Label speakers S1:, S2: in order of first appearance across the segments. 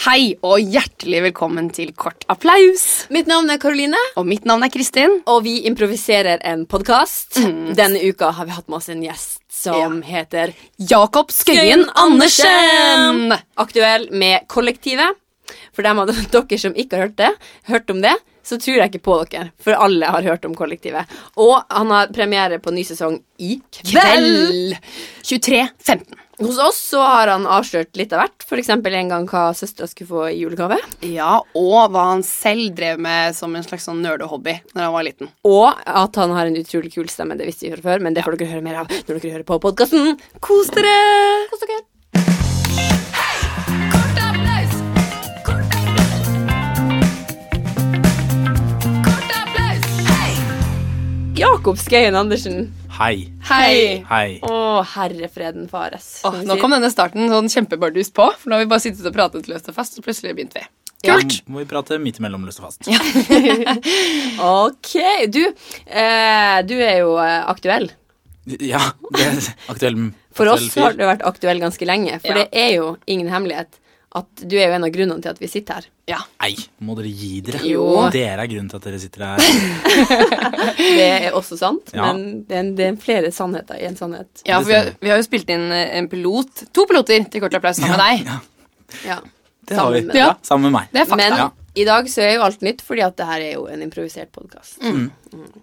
S1: Hei og hjertelig velkommen til Kort applaus.
S2: Mitt navn er Karoline,
S1: Og mitt navn er Kristin.
S2: og vi improviserer en podkast. Denne uka har vi hatt med oss en gjest som heter
S1: Jakob Skøyen Andersen!
S2: Aktuell med Kollektivet. For dem av dere som ikke har hørt det, hørt om det, så tror jeg ikke på dere. For alle har hørt om Kollektivet. Og han har premiere på ny sesong i kveld.
S1: 23.15.
S2: Hos oss så har han avslørt litt av hvert. F.eks. en gang hva søstera skulle få i julegave.
S1: Ja, og hva han selv drev med som en slags sånn nerdehobby når han var liten.
S2: Og at han har en utrolig kul stemme. Det visste vi fra før, men det får dere høre mer av når dere hører på podkasten. Kos dere! Kos dere! Jakob Skøyen Andersen.
S3: Hei.
S1: Hei!
S3: Hei.
S2: Å, herrefreden fares.
S1: Åh, nå kom denne starten sånn kjempebardust på, for nå har vi bare sittet og pratet løst og fast, og plutselig begynte vi. Kult!
S3: Må vi prate midt imellom løst og fast.
S2: Ok, du, eh, du er jo eh, aktuell.
S3: Ja, det er aktuell
S2: For
S3: aktuell
S2: oss
S3: fyr.
S2: har du vært aktuell ganske lenge, for
S1: Ja.
S2: det er jo ingen hemmelighet at du er jo en av grunnene til at vi sitter her.
S1: Ja.
S3: Nei, må dere gi dere.
S2: Jo.
S3: Dere er grunnen til at dere sitter her.
S2: Det er også sant,
S3: Ja.
S2: men det er, en, det er flere sannheter i en sannhet.
S1: Ja, for vi har, vi har jo spilt inn eh, en pilot, to piloter til Kort applaus sammen med deg.
S3: Ja,
S2: Ja.
S3: det har vi.
S2: Sammen med-
S3: Ja, sammen med meg.
S1: Det er fakta.
S2: Men
S3: Ja.
S2: i dag så er jo alt nytt, fordi at det her er jo en improvisert podkast.
S1: Mm.
S3: Mm.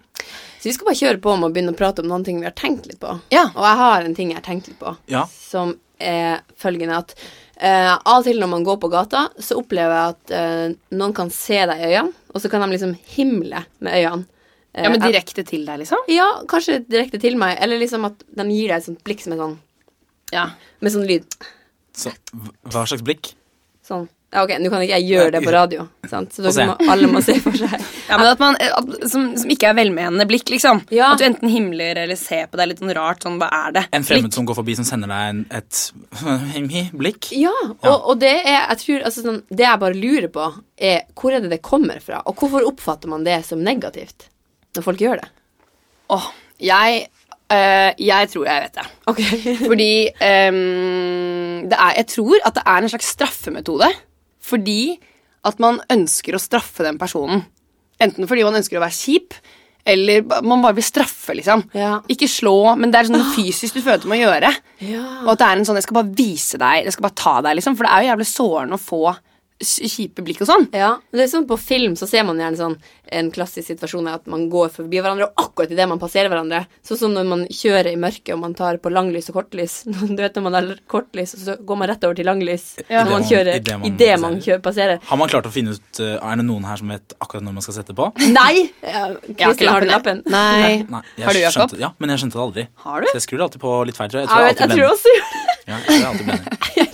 S2: Så vi skal bare kjøre på med å begynne å prate om noen ting vi har tenkt litt på.
S1: Ja.
S2: Og jeg har en ting jeg har tenkt litt på,
S3: Ja.
S2: som er følgende at eh, av og til når man går på gata, så opplever jeg at eh, noen kan se deg i øynene, og så kan de liksom himle med øynene. Eh,
S1: ja, men direkte til deg, liksom?
S2: Ja, kanskje direkte til meg, eller liksom at de gir deg et sånt blikk som er sånn,
S1: Ja.
S2: med sånn lyd.
S3: Så, hva slags blikk?
S2: Sånn. Ja, ok, nå kan ikke jeg gjøre det på radio, sant? så
S3: Få se.
S2: dere må, alle må se for seg.
S1: Ja, men at man, eh, at, som, som ikke er velmenende blikk, liksom.
S2: Ja.
S1: At du enten himler eller ser på deg litt sånn rart. sånn, hva er det?
S3: En fremmed som går forbi, som sender deg en, et himhi blikk?
S2: Ja, og, og det er, jeg tror, altså sånn, det jeg bare lurer på, er hvor er det det kommer fra, og hvorfor oppfatter man det som negativt når folk gjør det?
S1: Åh, jeg, eh, jeg tror jeg vet det.
S2: Ok.
S1: Fordi ehm, det er, jeg tror at det er en slags straffemetode. Fordi at man ønsker å straffe den personen. Enten fordi man ønsker å være kjip, eller ba- man bare vil straffe, liksom.
S2: Ja. Ah.
S1: Ikke slå, men det er sånn fysisk du føler du må gjøre. Og
S2: Ja.
S1: at det er en sånn 'jeg skal bare vise deg', 'jeg skal bare ta deg', liksom. For det er jo jævlig sårende å få s- kjipe blikk og sånn.
S2: ja, det er sånn På film så ser man gjerne sånn en klassisk situasjon er at man går forbi hverandre, og akkurat idet man passerer hverandre Sånn som når man kjører i mørket og man tar på langlys og kortlys. Du vet når man har kortlys, og så går man rett over til langlys
S3: Ja.
S2: når man
S3: I det man-
S2: kjører,
S3: i det man
S2: idet man
S3: passerer.
S2: kjører- passerer.
S3: Har man klart å finne ut eh, Er det noen her som vet akkurat når man skal sette på?
S2: Nei! Ja, Kristin, har du lappen?
S1: Nei.
S3: Nei, jeg
S1: Har du, Jakob?
S3: skjønte- Ja, men jeg skjønte det aldri.
S1: Har du?
S3: Så jeg skrur det alltid på litt feil, tror jeg.
S2: Jeg, vet, jeg
S3: alltid
S2: tror
S3: blender.
S2: også gjør det.
S3: Ja, jeg tror alltid blender.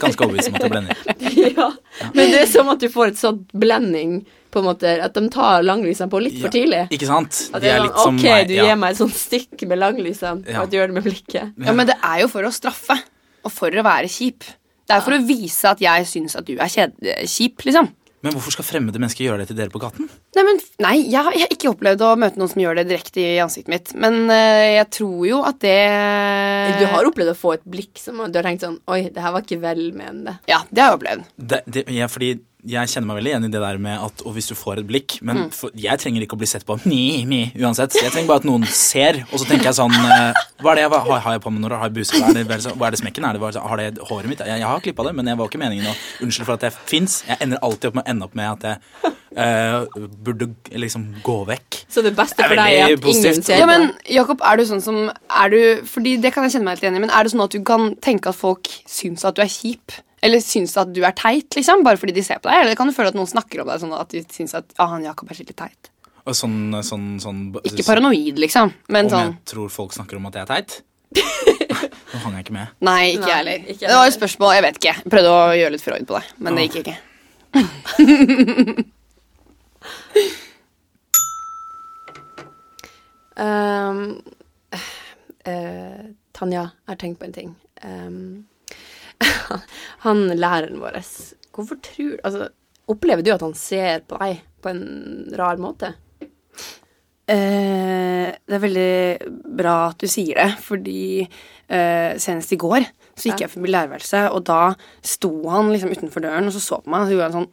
S3: Ganske overbevist om at jeg blender.
S2: ja. Men det er som at du får et sånt blending, på en måte, at de tar langlysene på litt
S3: Ja,
S2: for tidlig.
S3: Ikke sant?
S2: At
S3: De
S2: det
S3: er
S2: er
S3: litt
S2: sånn,
S3: som
S2: ok,
S3: meg.
S2: du
S3: ja.
S2: gir meg et sånt stikk med langlysene,
S3: Ja.
S2: og at du gjør det med blikket.
S1: Ja, men det er jo for å straffe, og for å være kjip. Det er for å vise at jeg syns at du er kjed- kjip, liksom.
S3: Men hvorfor skal fremmede mennesker gjøre det til dere på gaten?
S1: Nei, men, f- nei jeg, har, jeg har ikke opplevd å møte noen som gjør det direkte i ansiktet mitt. Men eh, jeg tror jo at det
S2: Du har opplevd å få et blikk som du har tenkt sånn Oi, det her var ikke velmenende.
S1: Ja, det har jeg opplevd.
S3: Det, det, jeg, fordi jeg kjenner meg veldig igjen i det der med at og hvis du får et blikk
S1: Mm.
S3: Men for, jeg trenger ikke å bli sett på mi, mi, uansett. Jeg trenger bare at noen ser, og så tenker jeg sånn eh, Hva er det jeg har, har jeg på meg når jeg har buser? Er det, vel så- hva er det smekken? Er det, bare så- har det håret mitt? Jeg, jeg har klippa det, men jeg var ikke meningen å unnskylde for at jeg fins. Jeg ender alltid opp med å ende opp med at jeg eh, burde g- liksom gå vekk.
S2: Så det beste
S3: Det er
S2: for deg er
S3: veldig
S2: at
S3: positivt.
S2: ingen ser
S1: Ja,
S2: på
S1: men
S2: deg.
S1: Jakob, er du sånn som er du, Fordi det kan jeg kjenne meg litt igjen i, men er det sånn at du kan tenke at folk syns at du er kjip? Eller syns at du er teit, liksom, bare fordi de ser på deg? Eller kan du føle at noen snakker om deg sånn at de syns at ah, han Jakob er skikkelig teit?
S3: Og sånn, sånn, sånn
S1: Ikke paranoid, liksom, men
S3: Om
S1: sånn
S3: jeg tror folk snakker om at jeg er teit? Nå hang jeg ikke med.
S1: Nei, ikke
S2: Nei,
S1: jeg heller.
S2: ikke jeg
S1: Det var et
S2: heller.
S1: spørsmål, jeg vet ikke. Jeg prøvde å gjøre litt Freud på deg, men det
S3: Åh.
S1: gikk ikke.
S2: Ehm, eh, Tanja, jeg har tenkt på en ting. Ehm, han læreren vår Hvorfor tror Altså, opplever du at han ser på deg på en rar måte?
S1: Eh, det er veldig bra at du sier det, fordi eh, senest i går så gikk jeg forbi lærerværelset, og da sto han liksom utenfor døren og så så på meg, og så gjorde han sånn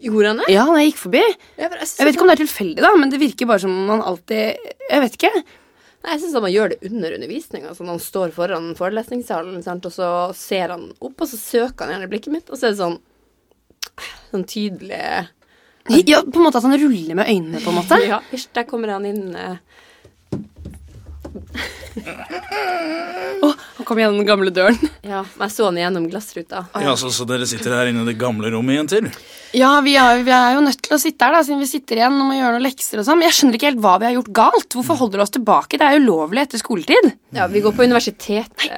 S2: Gjorde han det?
S1: Ja, når jeg gikk forbi.
S2: Jeg, bare- jeg,
S1: Jeg vet ikke om det er tilfeldig, da, men det virker bare som om han alltid Jeg vet ikke.
S2: Nei, jeg syns man gjør det under undervisninga. Sånn, han står foran forelesningssalen, sant? og så ser han opp, og så søker han gjerne i blikket mitt, og så er det sånn Sånn tydelig
S1: Ja, på en måte at han ruller med øynene, på en måte.
S2: Ja, hysj, der kommer han inn. eh.
S1: Han kom gjennom den gamle døren.
S2: Ja, men jeg så han gjennom glassruta.
S3: Ja, altså, så, så dere sitter her inne i det gamle rommet igjen til?
S1: Ja, vi er, vi er jo nødt til å sitte her, da, siden vi sitter igjen og må gjøre noen lekser og sånn. Men jeg skjønner ikke helt hva vi har gjort galt. Hvorfor holder du oss tilbake? Det er jo ulovlig etter skoletid.
S2: Ja, vi går på universitetet.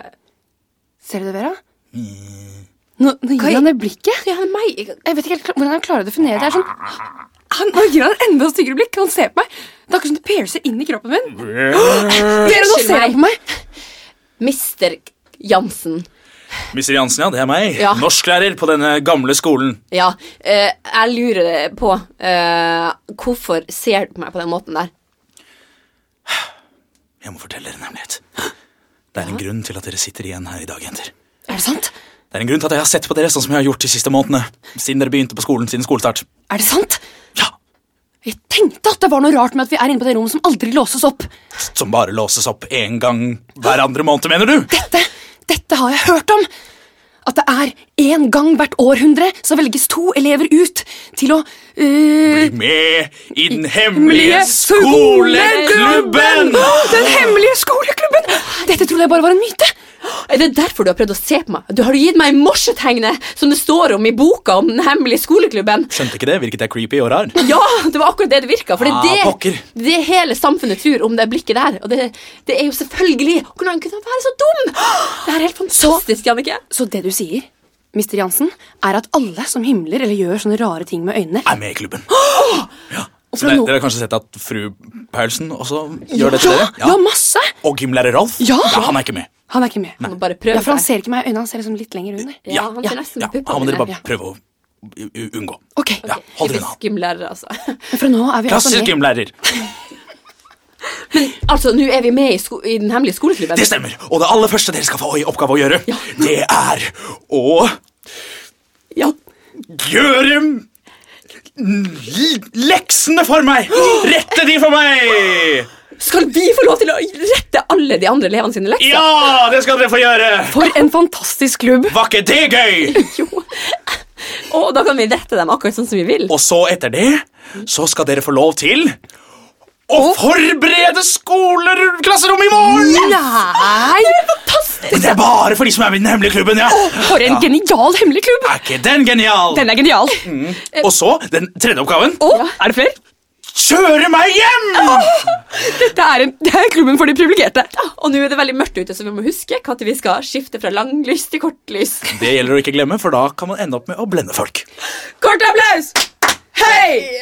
S1: Ser du det, Vera? Mm. Nå, nå
S2: Hva i-
S1: gir han det blikket.
S2: Ja, det er meg!
S1: Jeg vet ikke helt kla- hvordan han klarer å definere det. det. er Sånn, han, nå gir han et enda styggere blikk. Han ser på meg. Det er akkurat som det piercer inn i kroppen min. Dere, nå
S2: Unnskyld
S1: ser han på meg.
S2: Mister Jansen.
S3: Mister Jansen, ja, det er meg.
S2: Ja.
S3: Norsklærer på denne gamle skolen.
S2: Ja, eh, jeg lurer på eh, Hvorfor ser du på meg på den måten der?
S3: Jeg må fortelle dere en hemmelighet. Det er en grunn til at dere sitter igjen her i dag, jenter.
S1: Er det sant?
S3: Det er en grunn til at jeg har sett på dere sånn som jeg har gjort de siste månedene. Siden dere begynte på skolen, siden skolestart.
S1: Er det sant?
S3: Ja,
S1: Jeg tenkte at det var noe rart med at vi er inne på det rommet som aldri låses opp.
S3: Som bare låses opp én gang hver andre måned, mener du?
S1: Dette, dette har jeg hørt om! At det er én gang hvert århundre så velges to elever ut til å øh,
S3: Med i den
S1: hemmelige
S3: hemmelige skoleklubben!
S1: Den hemmelige skoleklubben! Dette trodde jeg bare var en myte.
S2: Er det derfor du har prøvd å se på meg? Du har jo gitt meg morsetegnet som det står om i boka om den hemmelige skoleklubben.
S3: Skjønte ikke det, virket jeg creepy og rar?
S2: Ja, det var akkurat det det virka. For det
S3: Ah,
S2: er det,
S3: pokker.
S2: det hele samfunnet tror om det blikket der. Og det, det er jo selvfølgelig Hvordan kunne han være så dum? Det er helt fantastisk, Jannicke.
S1: Så det du sier, Mr. Jansen, er at alle som himler eller gjør sånne rare ting med øynene
S3: Er med i klubben. Ja. Så
S1: fra
S3: dere,
S1: nå-
S3: dere har kanskje sett at fru Paulsen også gjør det til
S1: ja,
S3: dere?
S1: ja, masse!
S3: Og gymlærer Rolf?
S1: Ja.
S3: Han er ikke med.
S1: Han er ikke med.
S2: må bare prøve
S1: ja, for han
S2: seg.
S1: ser ikke meg i øynene. Han ser liksom litt lenger under.
S2: Ja, han ser nesten
S3: ja,
S2: på
S3: Han må dere
S2: puppene.
S1: Ja.
S3: bare prøve å u- u- unngå.
S1: Ok,
S3: Ja, Hold dere unna.
S2: Typisk gymlærer, altså.
S1: Men fra nå er vi altså
S3: Klassisk
S1: med.
S3: gymlærer.
S2: Altså, Nå er vi med i, sko i den hemmelige skoleklubben.
S3: Det stemmer. Og det aller første dere skal få i oppgave å gjøre, det er å
S2: Ja.
S3: gjøre m- l- leksene for meg! Rette de for meg!
S2: Skal vi få lov til å rette alle de andre elevene sine lekser?
S3: Ja, det skal dere få gjøre!
S1: For en fantastisk klubb!
S3: Var ikke det gøy?
S2: Jo. Og da kan vi rette dem akkurat sånn som vi vil.
S3: Og så etter det så skal dere få lov til å forberede skoleklasserommet i morgen!
S1: Nei!
S2: Fantastisk!
S3: Det er bare for de som er med i den hemmelige klubben, ja.
S1: For en genial hemmelig klubb!
S3: Er ikke den genial?
S1: Den er genial.
S3: Og så, den tredje oppgaven
S1: Og er det flere?
S3: Kjøre meg hjem!
S1: Dette er, en, det er klubben for de privilegerte.
S2: Og nå er det veldig mørkt ute, så vi må huske når vi skal skifte fra langlys til kortlys.
S3: Det gjelder å ikke glemme, for da kan man ende opp med å blende folk.
S2: Kort applaus! Hei!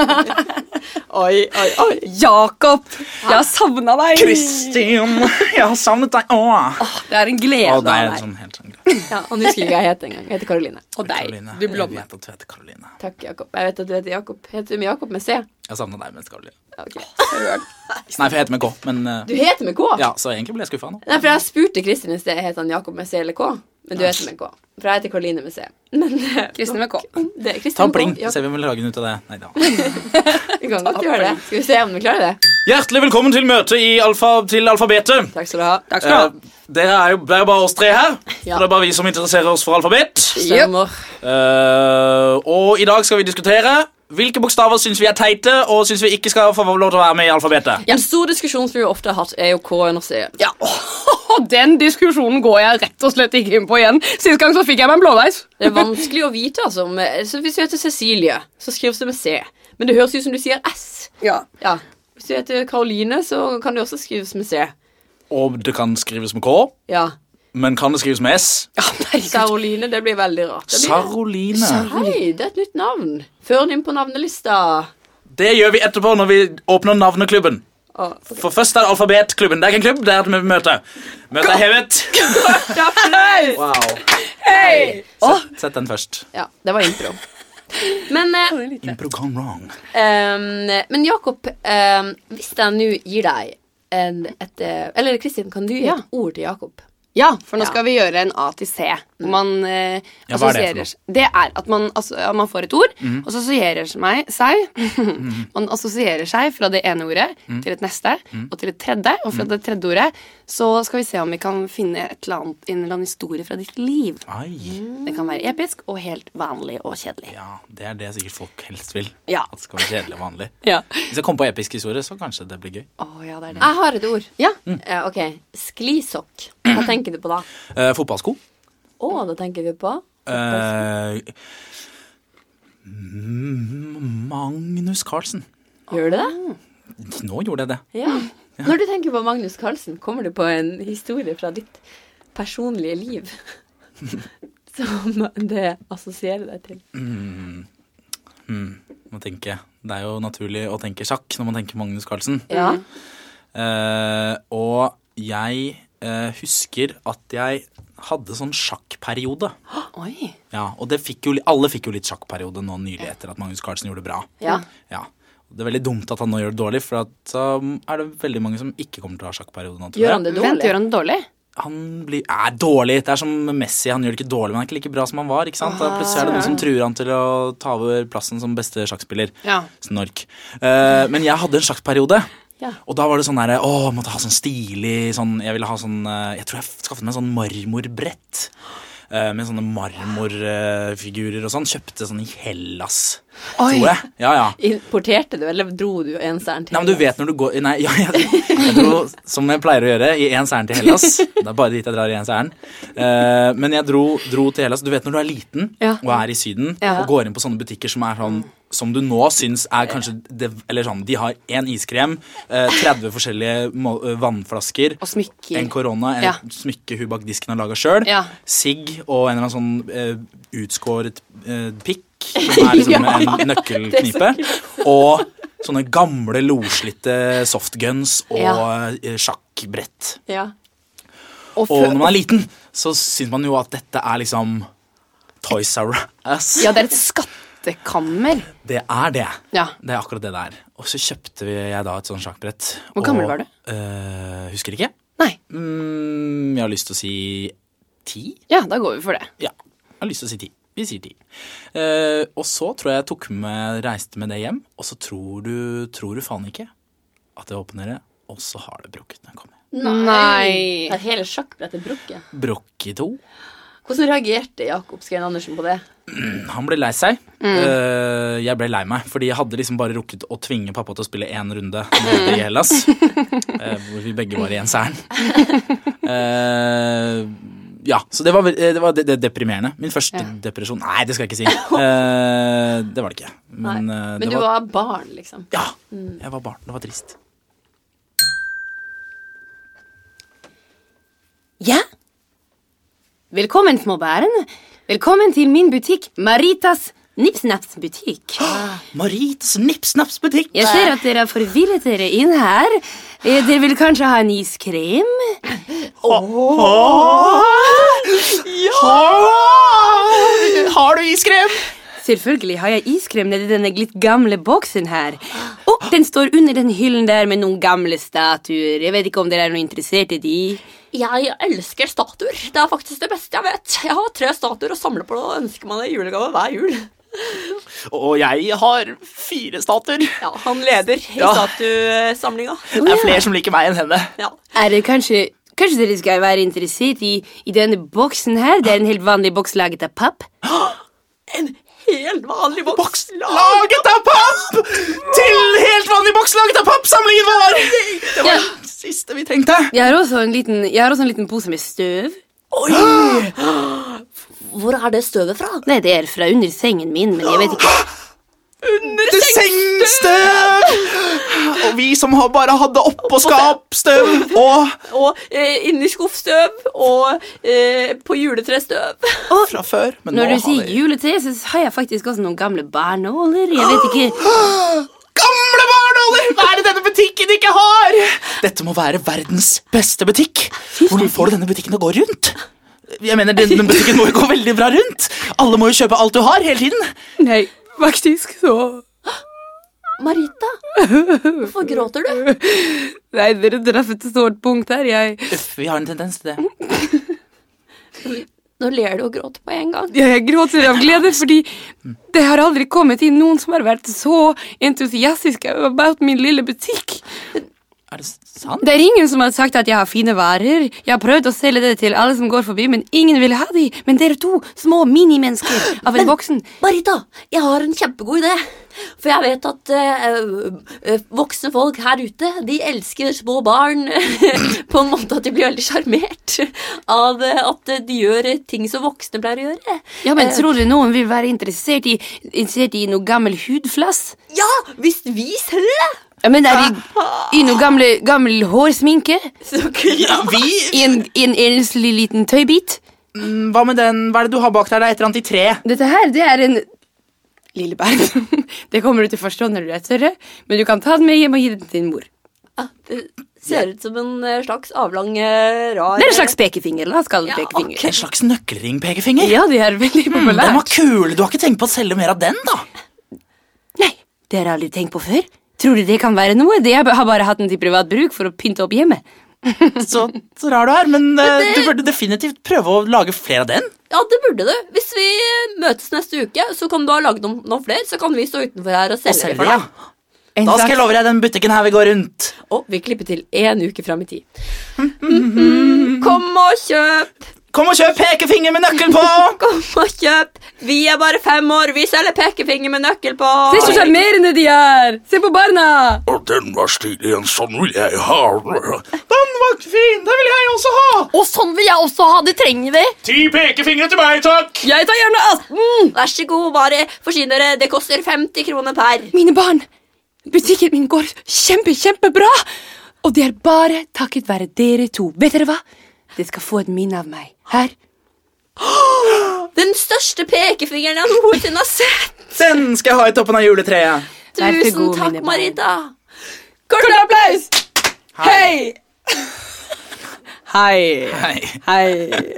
S2: oi, oi, oi.
S1: Jakob, jeg har savna deg.
S3: Kristin, jeg har savnet deg. Åh.
S1: Det er en glede
S3: Å,
S1: av
S3: det er
S1: deg.
S3: sånn helt sånn greit.
S2: Ja, og nå skulle ikke jeg hete engang. Jeg heter Karoline. Og deg.
S3: Karoline,
S2: Du
S3: Jeg
S2: blonde.
S3: vet at du heter Karoline.
S2: Takk, Jakob. Jeg vet at du heter Jakob. Heter du med Jakob med C?
S3: Jeg har savnet deg mest, Karoline.
S2: Ja, ok. Hørt.
S3: Nei, for jeg heter med K, men eh,
S2: Du heter med K?
S3: Ja, så egentlig ble jeg skuffa nå.
S2: Nei, for jeg spurte Kristin i sted heter han Jakob med C eller K. Men du heter med K. For jeg heter Karoline med C. Men eh,
S1: Kristin med K.
S2: det er Kristin
S3: Ta en
S2: med K.
S3: pling,
S2: Ja,
S3: så ser vi om vi lager den ut av det. Nei, da.
S2: vi kan godt gjøre det. Skal vi se om vi klarer det?
S3: Hjertelig velkommen til møtet i alfa, til alfabetet.
S2: Takk skal du ha.
S1: Takk skal du ha.
S3: Eh, det er jo det er jo bare oss tre her,
S2: Ja.
S3: og det er bare vi som interesserer oss for alfabet.
S2: Stemmer.
S3: Eh, og i dag skal vi diskutere hvilke bokstaver syns vi er teite, og syns vi ikke skal få lov til å være med i alfabetet.
S2: En stor diskusjon som vi ofte har hatt, er jo K under C.
S1: Ja, og Den diskusjonen går jeg rett og slett ikke inn på igjen. Sist gang så fikk jeg meg en blåveis.
S2: Det er vanskelig å vite, altså. om- Så hvis du heter Cecilie, så skrives det med C. Men det høres ut som du sier S.
S1: Ja.
S2: Ja. Hvis du heter Karoline, så kan det også skrives med C.
S3: Og det kan skrives med K,
S2: Ja.
S3: men kan det skrives med S?
S1: Ja, herregud.
S2: Saroline, det blir veldig rart. Det blir...
S3: Saroline.
S2: Hei, det er et nytt navn. Før den inn på navnelista.
S3: Det gjør vi etterpå når vi åpner navneklubben.
S2: Å,
S3: For først er alfabetklubben. Det er ikke en klubb, det er et møte. Møtet er hevet.
S2: Applaus!
S3: Wow.
S1: Hei! Å,
S3: Sett den først.
S2: Ja, det var intro. Men, eh,
S3: Impro gone wrong.
S2: ehm, men Jakob, ehm, hvis jeg nå gir deg en, et eh, Eller Kristin, kan du gi
S1: Ja.
S2: et ord til Jakob?
S1: Ja, for nå
S2: Ja.
S1: skal vi gjøre en A til C. Hvor man eh,
S3: Mm. Ja, hva er det for Mm.
S1: assosierer- Det er at man, asso- ja, man får et ord, og så assosierer meg- seg Man assosierer seg fra det ene ordet
S3: Mm.
S1: til et neste og til et tredje. Og fra det tredje ordet så skal vi se om vi kan finne et eller annet, en eller annen historie fra ditt liv.
S3: Ai.
S1: Det kan være episk og helt vanlig og kjedelig.
S3: Ja, det er det sikkert folk helst vil.
S1: Ja.
S3: At det skal være kjedelig og vanlig.
S1: Ja.
S3: Hvis jeg kommer på episk historie, så kanskje det blir gøy.
S1: Å ja, det er det.
S2: Jeg har et ord.
S1: Ja.
S2: Eh, ok. Sklisokk. Hva tenker du på da?
S3: Eh, fotballsko.
S2: Å, da tenker du på
S3: Eh, M- Magnus Carlsen.
S2: Gjør du det?
S3: Nå gjorde jeg det.
S2: Ja. Når du tenker på Magnus Carlsen, kommer du på en historie fra ditt personlige liv som det assosierer deg til?
S3: Må tenke. Det er jo naturlig å tenke sjakk når man tenker Magnus Carlsen.
S2: Ja.
S3: Eh, og jeg eh, husker at jeg hadde sånn sjakkperiode.
S1: Oi.
S3: Ja, og det fikk jo, li- alle fikk jo litt sjakkperiode nå nylig etter at Magnus Carlsen gjorde det bra.
S2: Ja.
S3: Ja. Det er veldig dumt at han nå gjør det dårlig, for at, um, er det veldig mange som ikke kommer til å ha sjakkperiode nå. tror jeg.
S2: Gjør han det
S1: Vent,
S2: dårlig?
S1: gjør han det dårlig?
S3: han blir, er dårlig. Det er som Messi. Han gjør det ikke dårlig, men han er ikke like bra som han var. ikke sant? Da plutselig
S1: Ah,
S3: er det noen som truer han til å ta over plassen som beste sjakkspiller.
S1: Ja.
S3: Snork. Eh, men jeg hadde en sjakkperiode.
S2: Ja.
S3: Og da var det sånn derre Å, jeg måtte ha sånn stilig sånn Jeg ville ha sånn eh, Jeg tror jeg skaffet meg sånn marmorbrett. eh, Med sånne marmorfigurer og sånn. Kjøpte sånn i Hellas,
S1: Oi.
S3: tror jeg. Ja, ja.
S2: Importerte du, eller dro du en særlig til?
S3: Nei, men du vet når du går Nei, ja, jeg, jeg dro som jeg pleier å gjøre, i ens ærend til Hellas. Det er bare dit jeg drar i ens ærend. Eh, men jeg dro, dro til Hellas. Du vet når du er liten
S1: Ja.
S3: og er i Syden
S1: Ja.
S3: og går inn på sånne butikker som er sånn som du nå syns er kanskje det, Eller sånn, de har én iskrem, eh, 30 forskjellige må, eh, vannflasker
S1: Og smykker.
S3: En korona, en
S1: Ja.
S3: smykke hun bak disken har laga sjøl,
S1: Ja.
S3: sigg og en eller annen sånn eh, utskåret eh, pikk, som er liksom en nøkkelknipe. Og sånne gamle, loslitte softguns og
S1: Ja.
S3: eh, sjakkbrett.
S2: Ja.
S1: Og
S3: Og
S1: fø-
S3: når man er liten, så syns man jo at dette er liksom Toys R Us.
S1: ja, det er et skattekammer.
S3: Det er det.
S1: Ja.
S3: Det er akkurat det det er. Og så kjøpte vi- jeg da et sånt sjakkbrett.
S1: Hvor gammel
S3: og,
S1: var du?
S3: eh, husker ikke.
S1: Nei.
S3: Mm, jeg har lyst til å si ti.
S1: Ja, da går vi for det.
S3: Ja. Jeg har lyst til å si ti. Vi sier ti. Eh, og så tror jeg jeg tok med, reiste med det hjem, og så tror du, tror du faen ikke at jeg åpner det, og så har det brukket når jeg kommer.
S1: Nei.
S2: Det er hele sjakkbrettet brukket.
S3: Brokk i to.
S2: Hvordan reagerte Jakob Skrein Andersen på det?
S3: Han ble lei seg.
S2: Mm.
S3: Eh, jeg ble lei meg, fordi jeg hadde liksom bare rukket å tvinge pappa til å spille én runde nede i Hellas. eh, hvor vi begge var i en særen. Eh, ja, så det var, vel- eh, det, var det, det deprimerende. Min første depresjon Nei, det skal jeg ikke si. Eh, det var det ikke.
S2: Nei.
S3: Men, eh,
S2: Men
S3: det
S2: du var
S3: var,
S2: barn, liksom.
S3: Ja!
S1: Mm.
S3: Jeg var barn. Det var trist.
S1: Ja? Velkommen, små bæren. Velkommen til min butikk, Maritas Nipsnaps-butikk.
S3: Marites nippsnapsbutikk!
S1: Jeg ser at dere har forvirret dere inn her. Eh, Dere vil kanskje ha en iskrem?
S3: Har du iskrem?
S1: Selvfølgelig har jeg iskrem nedi denne litt gamle boksen her. Og den står under den hyllen der med noen gamle statuer. Jeg vet ikke om dere er noe interessert i de.
S2: Jeg elsker statuer. Det er faktisk det beste jeg vet. Jeg har tre statuer og samler på det og ønsker meg det i julegave hver jul.
S3: Og jeg har fire stater.
S2: Ja, han leder i
S3: Ja.
S2: statuesamlinga.
S3: Det er flere som liker meg enn henne.
S2: Ja.
S1: Er det kanskje Kanskje dere skal være interessert i, i denne boksen her? Det er en helt vanlig boks laget av papp.
S2: En helt vanlig boks.
S3: Laget av papp! Til helt vanlig boks laget av papp! Samlingen vår! Det var det siste vi trengte.
S1: Jeg har også en liten, jeg har også en liten pose med støv.
S2: Hvor er det støvet fra?
S1: Nei, det er fra under sengen min, men jeg vet ikke
S3: Det sengstøv! Og vi som har bare hadde oppå skapstøv og
S2: Og eh, inni skuffstøv, og eh, på juletrestøv.
S3: fra før. Men
S1: Når du
S3: nå har
S1: sier
S3: vi
S1: juletre, så har jeg faktisk også noen gamle barnåler. Jeg vet ikke
S3: Gamle barnåler! Hva er det denne butikken ikke har? Dette må være verdens beste butikk. Hvordan får du denne butikken til å gå rundt? Jeg mener, Denne butikken må jo gå veldig bra rundt. Alle må jo kjøpe alt du har hele tiden.
S1: Nei, faktisk så
S2: Marita, hvorfor gråter du?
S1: Nei, dere traff et sårt punkt her. Jeg,
S3: Uff, vi har en tendens til det.
S2: Nå ler du og gråter på en gang.
S1: jeg, jeg gråter av glede, fordi det har aldri kommet inn noen som har vært så entusiastiske about min lille butikk.
S3: Er det sant?
S1: Det er ingen som har sagt at jeg har fine varer. Jeg har prøvd å selge det til alle som går forbi, men ingen vil ha de. Men dere to, små minimennesker av en voksen
S2: Marita, jeg har en kjempegod idé. For jeg vet at eh, eh, voksne folk her ute, de elsker små barn på en måte at de blir veldig sjarmert av eh, at de gjør ting som voksne pleier å gjøre.
S1: Ja, men
S2: Eh,
S1: tror du noen vil være interessert i, interessert i noe gammel hudflass?
S2: Ja, hvis vi selger det!
S1: Ja, men er det i noe gamle, gammel hårsminke?
S2: Så kult.
S3: Vi
S1: I en, i en enslig liten tøybit?
S3: Mm, Hva med den? Hva er det du har bak der? Det er et eller annet i tre.
S1: Dette her, det er en Lillebær. det kommer du til første hånd når du er større, men du kan ta den med hjem og gi den til din mor.
S2: Ja, det ser ut som en eh, slags avlang, eh, rar
S1: Det er en slags pekefinger. La oss kalle det
S2: Ja,
S1: pekefinger.
S3: En slags nøkkelring-pekefinger.
S1: Ja, de er veldig
S3: Den var
S1: populært.
S3: kul! Du har ikke tenkt på å selge mer av den, da?
S1: Nei, det har jeg aldri tenkt på før. Tror du det kan være noe? Det jeg har bare hatt den til privat bruk for å pynte opp hjemmet.
S3: Så, så rar du er, men eh, du burde definitivt prøve å lage flere av den.
S2: Ja, det burde du. Hvis vi eh, møtes neste uke, så kan du ha lagd noen, noen flere, så kan vi stå utenfor her og selge det for
S3: ja.
S2: deg.
S1: En
S3: Da skal
S1: slags-
S3: jeg love deg den butikken her vi går rundt.
S2: Og vi klipper til én uke fram i tid. Mhm. Kom og kjøp!
S3: Kom og kjøp pekefinger med nøkkel på!
S2: Kom og kjøp! Vi er bare fem år, vi selger pekefinger med nøkkel på!
S1: Se så sjarmerende de er! Se på barna!
S4: Og den var stilig, en sånn vil jeg ha.
S3: Den var fin! Den vil jeg også ha!
S2: Og sånn vil jeg også ha! Det trenger vi!
S4: Ti pekefingre til meg, takk!
S1: Jeg tar gjerne Mm. 18!
S2: Vær så god, bare forsyn dere. Det koster 50 kroner per.
S1: Mine barn, butikken min går kjempe, kjempebra! Og det er bare takket være dere to. Vet dere hva? Dere skal få et minne av meg. Her.
S2: Den største pekefingeren jeg noensinne har sett.
S3: Den skal jeg ha i toppen av juletreet.
S1: Vær så
S2: Tusen
S1: god,
S2: takk,
S1: mine barn.
S2: Marita.
S1: Kort applaus! Hei! Hei.
S3: Nei.
S1: Hei.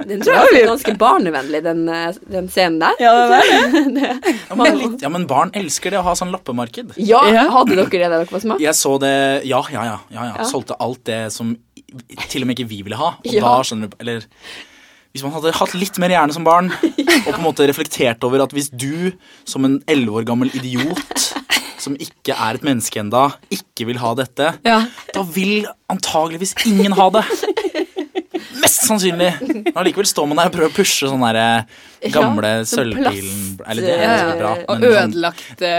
S2: Den tror jeg er ganske barnevennlig, den, eh, den scenen der.
S1: Ja, det er det.
S3: Ja, men, litt, ja, men barn elsker det å ha sånn loppemarked.
S2: Ja,
S1: Ja.
S2: Hadde dere det da dere var små?
S3: Jeg så det Ja, ja, ja. ja, ja. Solgte alt det som i- til og med ikke vi ville ha. Og
S2: Ja.
S3: da skjønner du Eller hvis man hadde hatt litt mer hjerne som barn, og på en måte reflektert over at hvis du som en elleve år gammel idiot som ikke er et menneske enda, ikke vil ha dette,
S1: Ja.
S3: da vil antageligvis ingen ha det. Mest sannsynlig. Men Allikevel står man der og prøver å pushe sånn derre gamle
S2: Ja, sånn
S3: sølvpilen
S2: plast,
S3: Eller det er
S1: ja,
S3: jo bra,
S1: eh, Og
S3: men sånn
S1: ødelagte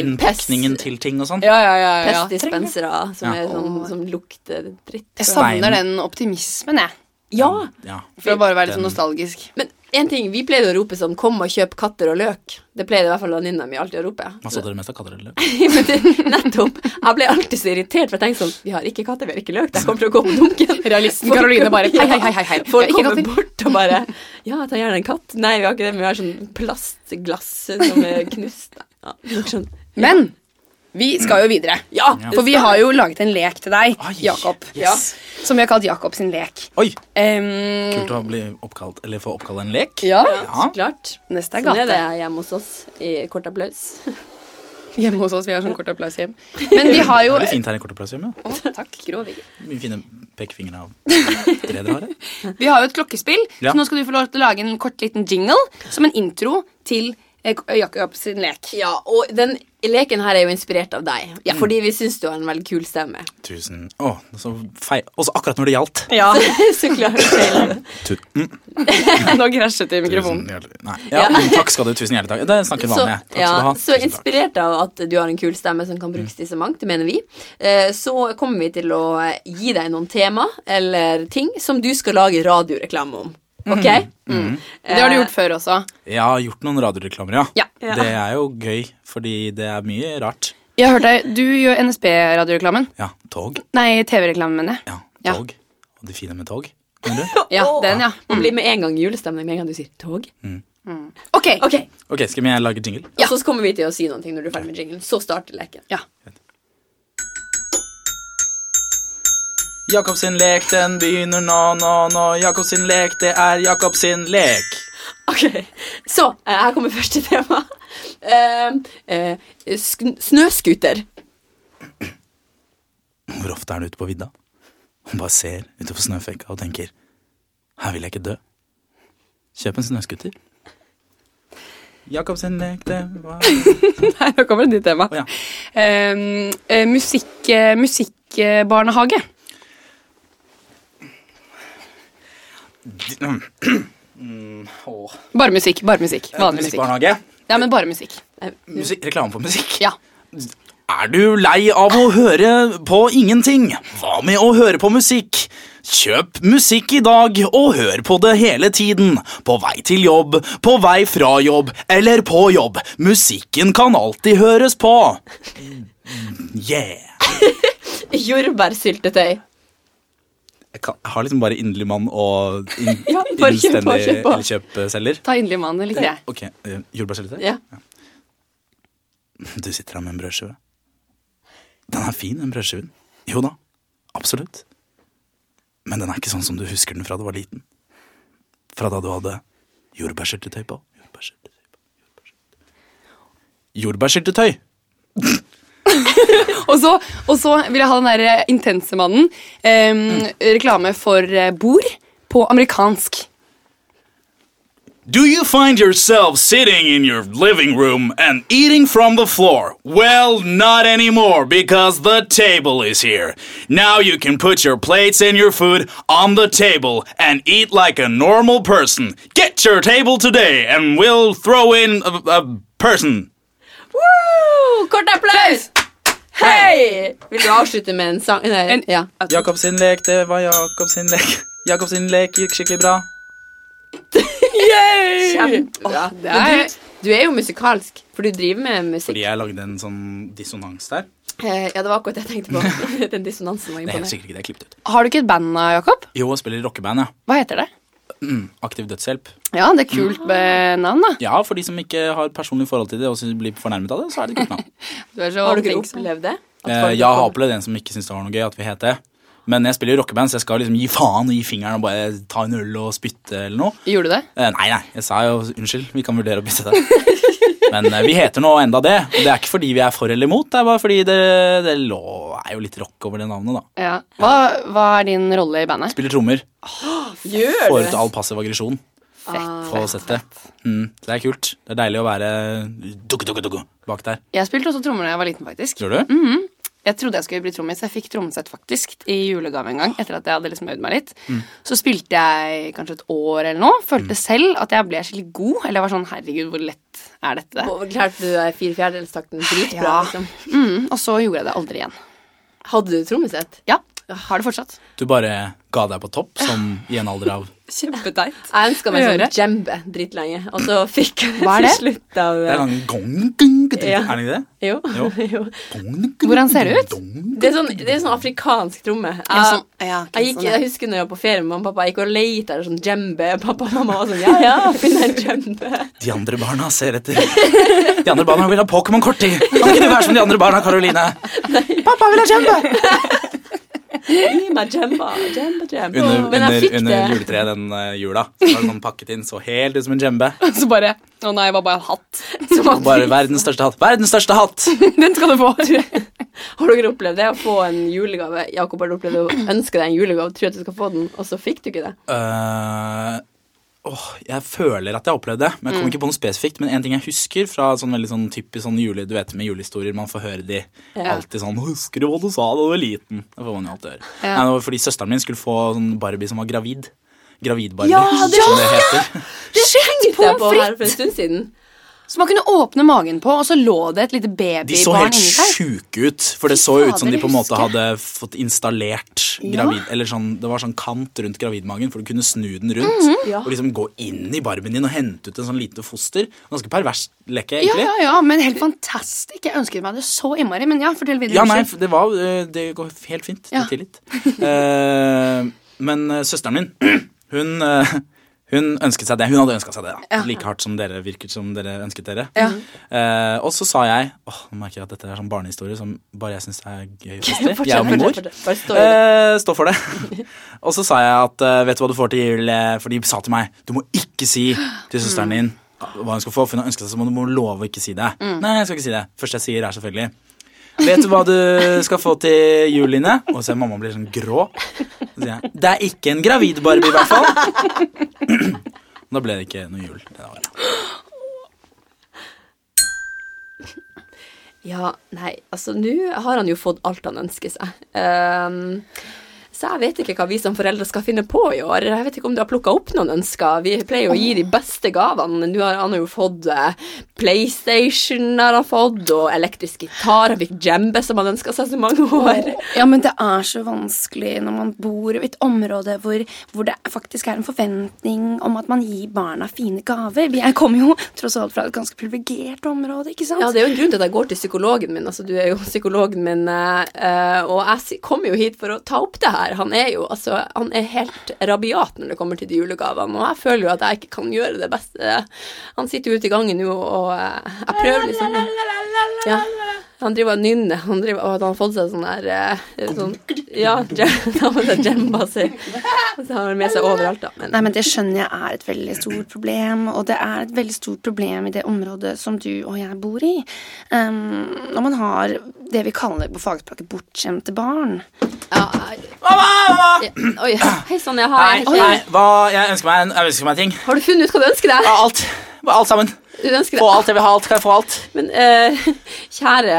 S3: innpakningen til ting og sånn.
S1: eh, Ja, ja, ja. ja.
S2: Pestdispensere som,
S3: Ja.
S2: er sånn, som lukter dritt.
S1: Jeg savner den optimismen, jeg.
S2: Ja,
S3: Ja.
S1: For å bare være litt sånn nostalgisk.
S2: men en ting, Vi pleide å rope sånn 'kom og kjøp katter og løk'. Det pleide i hvert fall venninna mi alltid å rope.
S3: Hva så dere mest av katter eller løk?
S2: Men det, nettopp, Jeg ble alltid så irritert, for jeg tenkte sånn 'vi har ikke katter, vi har ikke løk', det kommer til å gå på dunken.
S1: Realisten
S2: Folk-
S1: Caroline bare, «Hei, hei, hei, hei, hei,
S2: Ja,
S1: vi
S2: Folk
S1: har ikke
S2: kommer
S1: katter».
S2: bort og bare 'ja, ta gjerne en katt'. Nei, vi har ikke det, men vi har sånn plastglass som er knust. Ja, sånn.
S1: Men vi skal jo videre.
S2: ja
S3: Ja.
S1: For vi har jo laget en lek til deg,
S3: Oi,
S1: Ah, Jakob.
S3: yes.
S1: Ja, som vi har kalt Jakob sin lek.
S3: Oi!
S1: Ehm,
S3: Kult å bli oppkalt, eller få oppkalt en lek.
S1: ja,
S3: Ja.
S2: så klart.
S1: neste er
S2: Sånn
S1: gate.
S2: er det hjemme hos oss i kort applaus.
S1: Hjemme hos oss, vi har sånn kort applaus hjem. Men vi har jo
S3: Veldig fint her i Kortopplaushjemmet.
S1: Å, takk, grå vegger.
S3: Mye fine pekefingre av dere dere har her.
S1: Vi har jo et klokkespill,
S3: Ja.
S1: så nå skal du få lov til å lage en kort liten jingle som en intro til eh, Jakob sin lek.
S2: Ja, og den leken her er jo inspirert av deg, fordi vi syns du har en veldig kul stemme.
S3: Tusen Å, så feil. Også akkurat når det gjaldt.
S1: Ja,
S2: så klart.
S3: Tu mm,
S1: nå krasjet det i
S3: tusen
S1: mikrofonen.
S3: hjertelig Nei. Ja, men takk skal du. Tusen hjertelig takk. Det snakker
S2: Så,
S3: vanlig. jeg. Takk
S2: ja,
S3: skal du ha.
S2: så
S3: Tusen takk.
S2: inspirert av at du har en kul stemme som kan brukes til så mangt, det mener vi, eh, så kommer vi til å eh, gi deg noen tema eller ting som du skal lage radioreklame om.
S3: Mm.
S2: Ok? Mm.
S1: Det har du gjort før også.
S3: Jeg har gjort noen radioreklamer, ja.
S1: Ja.
S2: Ja.
S3: Det er jo gøy, fordi det er mye rart.
S1: Jeg har hørt deg, Du gjør NSB-radioreklamen.
S3: Ja, tog.
S1: Nei, TV-reklamen, mener jeg.
S3: Ja,
S1: Ja.
S3: tog. Og det fine med tog. Mener du?
S1: Ja,
S2: Åh.
S1: den, ja.
S2: Man blir med en gang julestemning med en gang du sier tog.
S3: Mm.
S1: Ok.
S2: Ok,
S3: Ok, skal jeg lage jingle?
S1: Ja.
S2: Og så kommer vi til å si noen ting når du er ferdig med jinglen. Så starter leken.
S1: Ja.
S3: Jakob sin lek, den begynner nå, nå, nå. Jakob sin lek, det er Jakob sin lek.
S2: Ok, Så eh, her kommer første tema. Eh, eh, sk snøscooter.
S3: Hvor ofte er du ute på vidda? Og bare ser utover snøføyka og tenker her vil jeg ikke dø. Kjøp en snøskuter. Jakob sin lek, det var
S1: Nei, nå kommer det ditt tema.
S3: Å ja.
S1: Ehm, eh, musikk, eh, musikkbarnehage.
S3: Mm, åh.
S1: Bare musikk. bare musikk, Vanlig musikk.
S3: Musikkbarnehage.
S1: Ja, men bare musikk.
S2: Eh,
S3: Musikk, reklame for musikk.
S1: Ja.
S3: Er du lei av å høre på ingenting? Hva med å høre på musikk? Kjøp musikk i dag og hør på det hele tiden. På vei til jobb, på vei fra jobb eller på jobb. Musikken kan alltid høres på. Yeah.
S2: Jordbærsyltetøy.
S3: Jeg, kan, jeg har liksom bare inderlig mann og in,
S2: Ja, bare kjøp på,
S3: innstendig
S2: kjøp på.
S3: kjøpselger.
S1: Ta inderlig mannen, det likte jeg.
S3: Ok, eh, Jordbærsyltetøy?
S2: Ja.
S3: Du sitter her med en brødskive. Den er fin, den brødskiven. Jo da, absolutt. Men den er ikke sånn som du husker den fra du var liten. Fra da du hadde jordbærsyltetøy på. Jordbærsyltetøy på. Jordbærsyltetøy!
S1: Og så, og så vil jeg ha den der eh, intense mannen. Ehm,
S3: Mm.
S1: Reklame for eh, bord på amerikansk.
S4: Do you find yourself sitting in your living room and eating from the floor? Well, not anymore because the table is here. Now you can put your plates and your food on the table and eat like a normal person. Get your table today and we'll throw in a, a person.
S2: Woo! Kort applaus! Hei! Vil du avslutte med en sang? Nei,
S1: En-
S2: ja.
S3: Jakob sin lek, det var Jakob sin lek. Jakob sin lek gikk skikkelig bra.
S2: Kjempebra.
S1: Åh, det er-
S2: Men du, du er jo musikalsk, for du driver med musikk.
S3: Fordi jeg lagde en sånn dissonans der. er
S2: Eh, ja, det var akkurat det jeg tenkte på. Den dissonansen var
S3: Det er helt
S2: imponerende.
S3: sikkert ikke det jeg klippet ut.
S1: Har du ikke et band, eh, Jakob?
S3: Jo, jeg spiller i rockeband, ja.
S1: Hva heter det? Mm.
S3: Aktiv dødshjelp.
S1: Ja, det er kult med navn, da.
S3: Ja, for de som ikke har personlig forhold til det og synes- blir fornærmet av det, så er det kult navn.
S1: Du er så
S2: Har du ikke
S1: omtenksom.
S2: opplevd det? At
S3: Eh,
S2: folk-
S3: jeg har opplevd en som ikke syntes det var noe gøy at vi het det. Men jeg spiller jo rockeband, så jeg skal liksom gi faen og gi fingeren og bare ta en øl og spytte eller noe.
S1: Gjorde du det?
S3: Eh, nei, nei, jeg sa jo unnskyld, vi kan vurdere å bytte det. Men eh, vi heter nå enda det. Og det er ikke fordi vi er for eller imot, det er bare fordi det, det lå, er jo litt rock over det navnet, da.
S1: Ja. Hva, hva er din rolle i bandet?
S3: Spiller trommer.
S2: Gjør
S3: Får
S2: du
S3: ut
S2: det?
S3: all passiv aggresjon
S2: Ah,
S3: på settet. Mm, så det er kult. Det er deilig å være dugg, dugg, dugg, bak der.
S1: Jeg spilte også trommer da jeg var liten, faktisk.
S3: Gjør du?
S1: Jeg trodde jeg skulle bli trommis. Jeg fikk trommesett faktisk i julegave en gang. etter at jeg hadde liksom øvd meg litt. Så spilte jeg kanskje et år eller noe. Følte selv at jeg ble skikkelig god. Eller jeg var sånn, herregud, hvor lett er dette?
S2: og Klarte du eh, fire fjerdedelstakten dritbra?
S1: Ja.
S2: Liksom.
S1: Mm, og så gjorde jeg det aldri igjen.
S2: Hadde du trommesett?
S1: Ja, har det fortsatt.
S3: Du bare ga deg på topp som i en alder av
S1: Kjempeteit.
S2: Jeg ønska meg sånn
S1: Gjøre.
S2: djembe dritlenge, og så fikk jeg det
S1: Hva er
S2: til
S1: det?
S2: slutt av
S3: Det er
S2: eh,
S3: sånn gong, ding, ding,
S2: Ja.
S3: Er det ikke det?
S2: Jo.
S3: Jo.
S2: jo.
S1: Hvordan ser det ut?
S2: Det er sånn, det er sånn afrikansk tromme. Jeg,
S1: Ja, sånn- ja, ok,
S2: jeg, gikk,
S1: sånn, ja.
S2: jeg husker når jeg var på ferie med mamma og pappa, jeg gikk og lette etter sånn djembe. Pappa og mamma var sånn Ja, ja, finn en djembe.
S3: De andre barna ser etter De andre barna vil ha Pokémon-kort i! Kan ikke du være som de andre barna, Karoline? Pappa vil ha kjempe!
S2: Gi meg djemba, djemba, djemba.
S3: Under,
S2: Men
S3: under,
S2: jeg fikk
S3: under
S2: det.
S3: juletreet den eh, jula så var det sånn pakket inn så helt ut som en djembe.
S1: Så bare Å nei, det var bare en hatt.
S3: Og Bare verdens største hatt. Verdens største hatt!
S1: Den skal du få. Jeg
S2: Har dere opplevd det? Å få en julegave? Jakob, har du opplevd å ønske deg en julegave, tro at du skal få den, og så fikk du ikke det?
S3: Eh, åh, jeg føler at jeg har opplevd det, men jeg
S2: Mm.
S3: kom ikke på noe spesifikt. Men en ting jeg husker fra sånn veldig sånn typisk sånn jule, du vet med julehistorier Man får høre de
S2: Ja.
S3: alltid sånn 'Husker du hva du sa da du var liten?' Det får man jo alltid høre.
S1: Ja.
S3: Nei, det var fordi søsteren min skulle få sånn Barbie som var gravid. Gravid-Barbie,
S2: Ja, det
S3: som det heter.
S2: Tenkte jeg på her for en stund siden.
S1: Som man kunne åpne magen på, og så lå det et lite
S3: De så
S1: babybarn
S3: helt
S1: inni seg.
S3: sjuke ut, for det så
S1: fader,
S3: ut som de på en måte
S1: husker jeg.
S3: hadde fått installert gravid, eller sånn, Det var sånn kant rundt gravidmagen, for du kunne snu den rundt
S1: Mhm.
S2: Ja.
S3: og liksom gå inn i barmen din og hente ut en sånn lite foster. Ganske pervers leke,
S1: Ja,
S3: egentlig.
S1: ja, ja, men helt fantastisk. Jeg ønsket meg det så innmari. Men ja, fortell videre.
S3: Ja, nei,
S1: unnskyld.
S3: det, var, øh, det går helt fint.
S1: Ja.
S3: Det tillit. Eh, men øh, søsteren min, eh, hun, øh, Hun ønsket seg det. Hun hadde ønska seg det. da.
S1: Ja.
S3: Like hardt som dere virket som dere ønsket dere.
S1: Ja.
S3: Eh, og så sa jeg Åh, nå merker jeg at dette er sånn barnehistorie som bare jeg syns er gøy. og festlig.
S2: Fortsett,
S3: Jeg og min mor.
S2: fortsett, fortsett. Bare stå i det.
S3: Eh, stå for det. og så sa jeg at eh, vet du hva du får til jul? Eh, For de sa til meg du må ikke si til søsteren din hva hun skal få, for hun har ønsket seg så må du må love å ikke si det.
S2: Mm.
S3: Nei, jeg skal ikke si det. Første jeg sier, er selvfølgelig Vet du hva du skal få til jul, Line? Og så ser mamma blir sånn grå. Så sier jeg det er ikke en gravid Barbie, i hvert fall. da ble det ikke noe jul. Det var det.
S2: Ja, nei, altså nå har han jo fått alt han ønsker seg. Ehm, så jeg vet ikke hva vi som foreldre skal finne på i år. Jeg vet ikke om du har plukka opp noen ønsker. Vi pleier jo å gi de beste gavene. Nå har han har jo fått eh, PlayStation, har han fått, og elektrisk gitar. Han fikk djembe, som han ønska seg så mange år.
S5: Ja, men det er så vanskelig når man bor i et område hvor, hvor det faktisk er en forventning om at man gir barna fine gaver. Jeg kommer jo tross alt fra et ganske privilegert område, ikke sant?
S2: Ja, det er jo en grunn til at jeg går til psykologen min. Altså, du er jo psykologen min, eh, eh, og jeg si- kommer jo hit for å ta opp det her. Han er jo altså, han er helt rabiat når det kommer til de julegavene, og jeg føler jo at jeg ikke kan gjøre det beste. Han sitter jo ute i gangen nå, og eh, jeg prøver liksom ja. Han driver og nynner. Han driver, og han har fått seg sånn der eh, sånn, Ja, djem- han har fått seg djemba si. Så han har han med seg overalt, da. Men
S5: Nei, men Det skjønner jeg er et veldig stort problem, og det er et veldig stort problem i det området som du og jeg bor i. Um, når man har det vi kaller på fagspråket bortskjemte barn.
S2: ja, jeg- ja, Oi, hei sann, jeg har
S3: Nei, nei, hva, jeg ønsker meg, en- jeg ønsker meg ting.
S2: Har du funnet ut hva du ønsker deg?
S3: Ja, Alt. Bare Alt sammen.
S2: Du ønsker deg
S3: Få alt. Jeg vil ha alt. Kan jeg få alt?
S2: Men eh, kjære,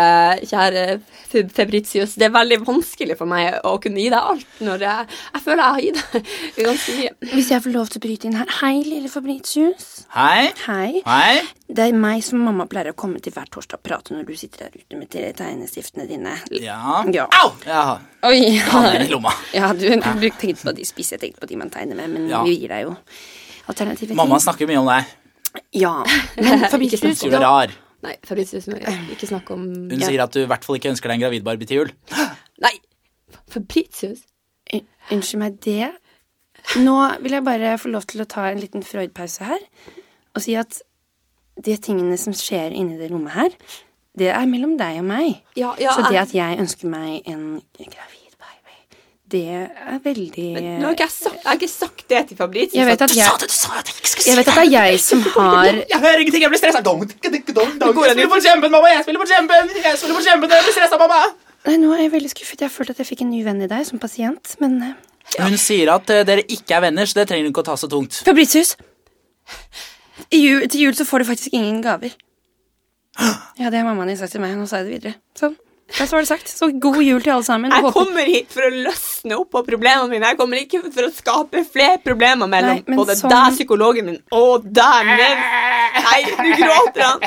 S2: kjære Fe- Fabritius, det er veldig vanskelig for meg å kunne gi deg alt når jeg, jeg føler jeg har gitt deg ganske mye.
S5: Hvis jeg får lov til å bryte inn her Hei, lille Fabritius.
S3: Hei.
S5: Hei.
S3: Hei.
S5: Det er meg som mamma pleier å komme til hver torsdag og prate når du sitter der ute med te- tegnestiftene dine.
S3: Ja.
S5: Ja.
S3: Au! Ja,
S5: Oi!
S3: hammeren i lomma.
S5: Ja, du, du tenkte på de spisse, jeg tenkte på de man tegner med, men
S3: Ja.
S5: vi gir deg jo alternativer.
S3: Mamma snakker mye om deg.
S5: Ja, men
S3: Hun
S5: Fabritius,
S3: sier du er rar.
S2: Nei, Fabritius, men ikke snakk om
S3: Hun sier at du i hvert fall ikke ønsker deg en gravid Barbie til jul.
S2: Nei! Fabritius?
S5: Un- Unnskyld meg det. Nå vil jeg bare få lov til å ta en liten Freud-pause her og si at de tingene som skjer inni det rommet her, det er mellom deg og meg.
S2: Ja, ja,
S5: Så det
S2: jeg-
S5: at jeg ønsker meg en gravid baby, det er veldig
S2: Nå har ikke jeg, sagt, jeg har ikke sagt det til Fabritius.
S5: Jeg vet at jeg-
S2: det, du sa at jeg ikke skulle
S5: Jeg vet at det er jeg som har
S3: Jeg hører ingenting, jeg blir stressa. Dong, dong, dong, dong. Jeg spiller på kjempen, mamma. Jeg spiller på kjempen. Jeg spiller på kjempen, jeg blir stresset, mamma.
S5: Nei, nå er jeg veldig skuffet. Jeg følte at jeg fikk en ny venn i deg som pasient, men eh,
S3: Hun sier at eh, dere ikke er venner, så det trenger hun ikke å ta så tungt.
S5: Fabritius, i ju- til jul så får du faktisk ingen gaver. Ja, det har mammaen din sagt til meg. Nå sa jeg det videre. Sånn. Da så var det sagt. Så god jul til alle sammen.
S2: Jeg
S5: Håper-
S2: kommer hit for å løsne opp på problemene mine. Jeg kommer ikke for å skape flere problemer mellom
S5: Nei, men
S2: både
S5: sånn-
S2: deg, psykologen min, og deg. Men... Nei, nå gråter han.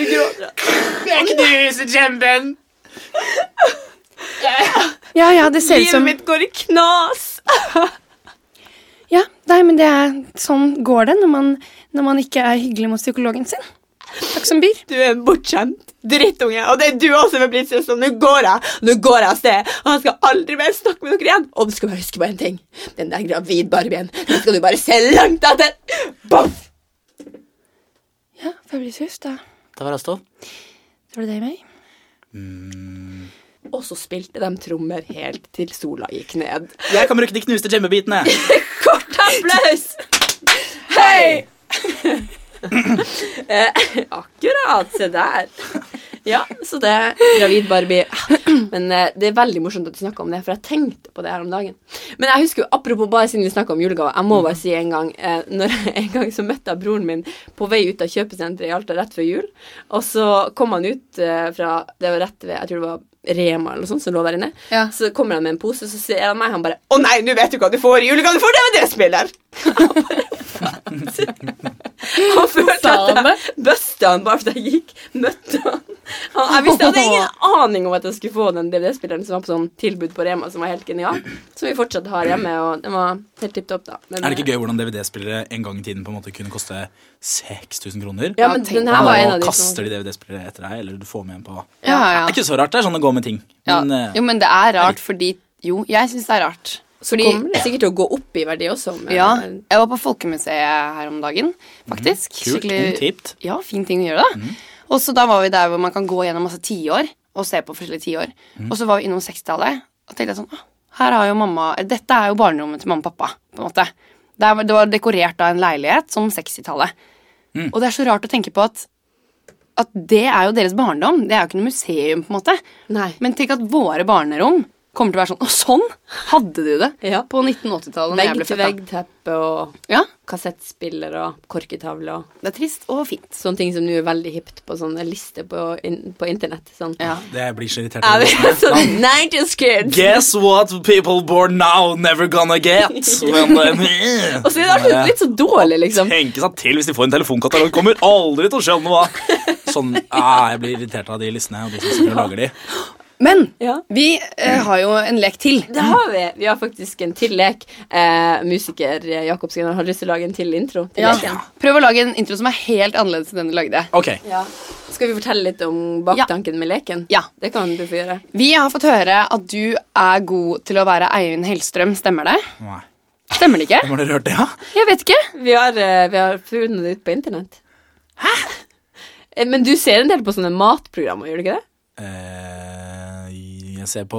S2: Nå gråter han.
S3: Jeg knuser kjempen.
S5: Ja, ja, det ser ut
S2: Livet
S5: som
S2: mitt går i knas.
S5: Ja, nei, men det er Sånn går det når man, når man ikke er hyggelig mot psykologen sin. Takk som byr.
S2: Du er en bortskjemt drittunge, og det er du også med Blitz. Nå går jeg nå går jeg av sted, og han skal aldri mer snakke med dere igjen. Og du skal bare huske på én ting. Den der gravid-barbien den skal du bare se langt etter. Boff!
S5: Ja, Fabritius, da
S3: Det var oss to.
S5: Det var det meg.
S2: Og så spilte de trommer helt til sola gikk ned.
S3: Jeg kan bruke de knuste kjempebitene.
S2: Kort applaus! Hei! Eh, Akkurat. Se der. Ja, så det er Gravid Barbie. Men eh, det er veldig morsomt at du snakker om det, for jeg tenkte på det her om dagen. Men jeg husker jo, apropos bare siden vi snakket om julegaver, jeg må bare si en gang eh, når, En gang så møtte jeg broren min på vei ut av kjøpesenteret i Alta rett før jul. Og så kom han ut eh, fra Det var rett ved Jeg tror det var Rema eller noe sånt som lå der inne.
S1: Ja.
S2: Så kommer han med en pose, så ser han meg, han bare 'Å nei, nå vet du hva du får i julegave! Du får det med dresspiller!' Han følte at jeg busta han bare fordi jeg gikk, møtte han. han jeg visste jeg hadde ingen aning om at jeg skulle få den DVD-spilleren som var på sånn tilbud på Rema, som var helt genial, som vi fortsatt har hjemme, og den var helt tipp topp, da. Men,
S3: Er det ikke gøy hvordan DVD-spillere en gang i tiden på en måte kunne koste 6000 kroner?
S2: eh, Ja, men den her var en av
S3: Og
S2: de som
S3: kaster de DVD-spillere etter deg, eller du får med en på
S1: Ja,
S3: Det er
S1: ja.
S3: ikke så rart, det er sånn det går med ting.
S1: ja.
S3: Men, eh,
S1: Jo, men det er rart fordi Jo, jeg syns det er rart.
S2: Så Fordi, kommer det sikkert til å gå opp i verdi også. men- Sånn
S5: Ja, jeg var på Folkemuseet her om dagen, faktisk.
S3: Mhm. kult, intimt. Mhm.
S5: Ja, fin ting å gjøre, da. Og så da var vi der hvor man kan gå gjennom masse tiår og se på forskjellige tiår.
S3: Mhm.
S5: Og så var vi innom 60-tallet, og tenkte jeg sånn «Å, her har jo mamma, Dette er jo barnerommet til mamma og pappa, på en måte. Der, var- det var dekorert av en leilighet som 60-tallet.
S3: Mhm.
S5: Og det er så rart å tenke på at at det er jo deres barndom. Det er jo ikke noe museum, på en måte.
S2: Nei.
S5: Men tenk at våre barnerom kommer til å være sånn. Og sånn hadde de det
S2: Ja.
S5: på 1980-tallet. når jeg ble født, da.
S2: Vegg-til-vegg-teppe og
S5: Ja,
S2: kassettspiller og korketavle og
S5: det er trist og fint.
S2: sånne ting som nå er veldig hipt på sånne lister på, in på internett. Sånn.
S5: Ja.
S3: Det blir så irritert.
S2: Ja,
S3: av
S2: det
S3: det.
S2: er sånn 90's kids!
S6: Guess what people born now never gonna get. Men, eh,
S2: Og så er det alltid litt så dårlig, liksom.
S6: Tenke seg til hvis de får en telefonkatalog. Kommer aldri til å skjønne hva.
S3: Sånn, ah, jeg blir irritert av de listene og de som sitter og lager de.
S5: Men
S2: Ja.
S5: vi eh, har jo en lek til.
S2: Det har vi. Vi har faktisk en til lek. Eh, musiker Jakobsen har lyst til å lage en til intro. Til leken.
S5: Prøv å lage en intro som er helt annerledes enn den du lagde.
S3: Ok,
S2: Skal vi fortelle litt om baktanken med leken?
S5: Ja.
S2: Det kan du få gjøre.
S5: Vi har fått høre at du er god til å være Eivind Hellstrøm. Stemmer det?
S3: Nei.
S5: Stemmer det ikke?
S3: Har dere hørt det, ja?
S5: Jeg vet ikke.
S2: Vi har, eh, vi har funnet det ut på internett. Hæ? Men du ser en del på sånne matprogrammer, gjør du ikke det?
S3: Eh, jeg ser på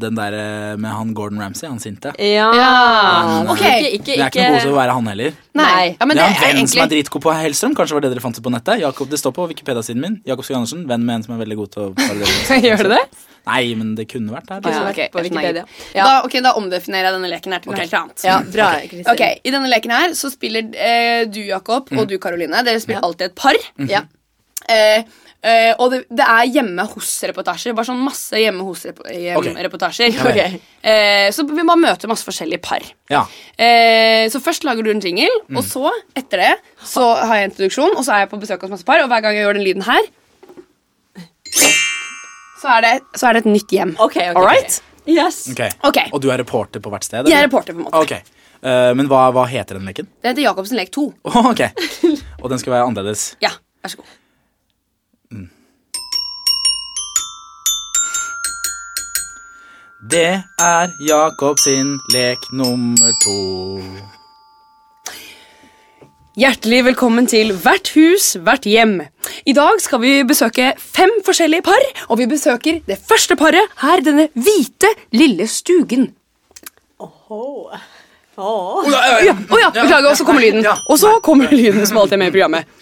S3: den der eh, med han Gordon Ramsay, han sinte.
S2: Ja.
S5: Ja.
S2: Ikke,
S5: Ok.
S2: ikke,
S3: Det er ikke noe god til å være han heller.
S2: Nei.
S5: Ja, men
S3: det
S5: det
S3: er en
S5: er
S3: venn som er
S5: egentlig
S3: dritgod på Hellstrøm. Kanskje var det dere fant ut på nettet? Jakob, det står på Wikipedia-siden min. Jakob Skog Andersen, venn med en som er veldig god til å parodiere.
S5: Gjør du det?
S3: Nei, men det kunne vært der.
S2: Ja,
S3: Altså.
S5: ok,
S2: på
S5: jeg skjønner.
S2: Wikipedia.
S5: Da,
S2: Ja.
S5: ok, da omdefinerer jeg denne leken her til noe helt annet.
S2: ja, bra, Kristin. Mm.
S5: Ok, I denne leken her så spiller eh, du, Jakob, og du, Karoline. Dere spiller alltid et par.
S2: Ja.
S5: Eh, eh, og det, det er hjemme hos-reportasjer. Bare sånn masse hjemme hos-reportasjer.
S3: Ok. Ja,
S5: Eh, så vi bare møter masse forskjellige par.
S3: Ja.
S5: Eh, så først lager du en jingle,
S2: Mm.
S5: og så, etter det, så har jeg introduksjon, og så er jeg på besøk hos masse par, og hver gang jeg gjør den lyden her så er, det, så er det et nytt hjem.
S2: Ok, ok,
S5: All right?
S2: Yes.
S3: Ok.
S5: Ok.
S3: Og du er reporter på hvert sted?
S5: Jeg er
S3: eller?
S5: reporter, på en måte.
S3: Ok. Eh, men hva, hva heter den leken?
S5: Det heter Jacobsen lek 2.
S3: Ok. Og den skal være annerledes.
S5: Ja, vær så god.
S3: Det er Jakob sin lek nummer to.
S5: Hjertelig velkommen til Hvert hus, hvert hjem. I dag skal vi besøke fem forskjellige par, og vi besøker det første paret her, denne hvite, lille stugen.
S2: Åh,
S5: Ja, å ja, beklager, og så kommer lyden. Og så kommer lyden som alltid er med i programmet.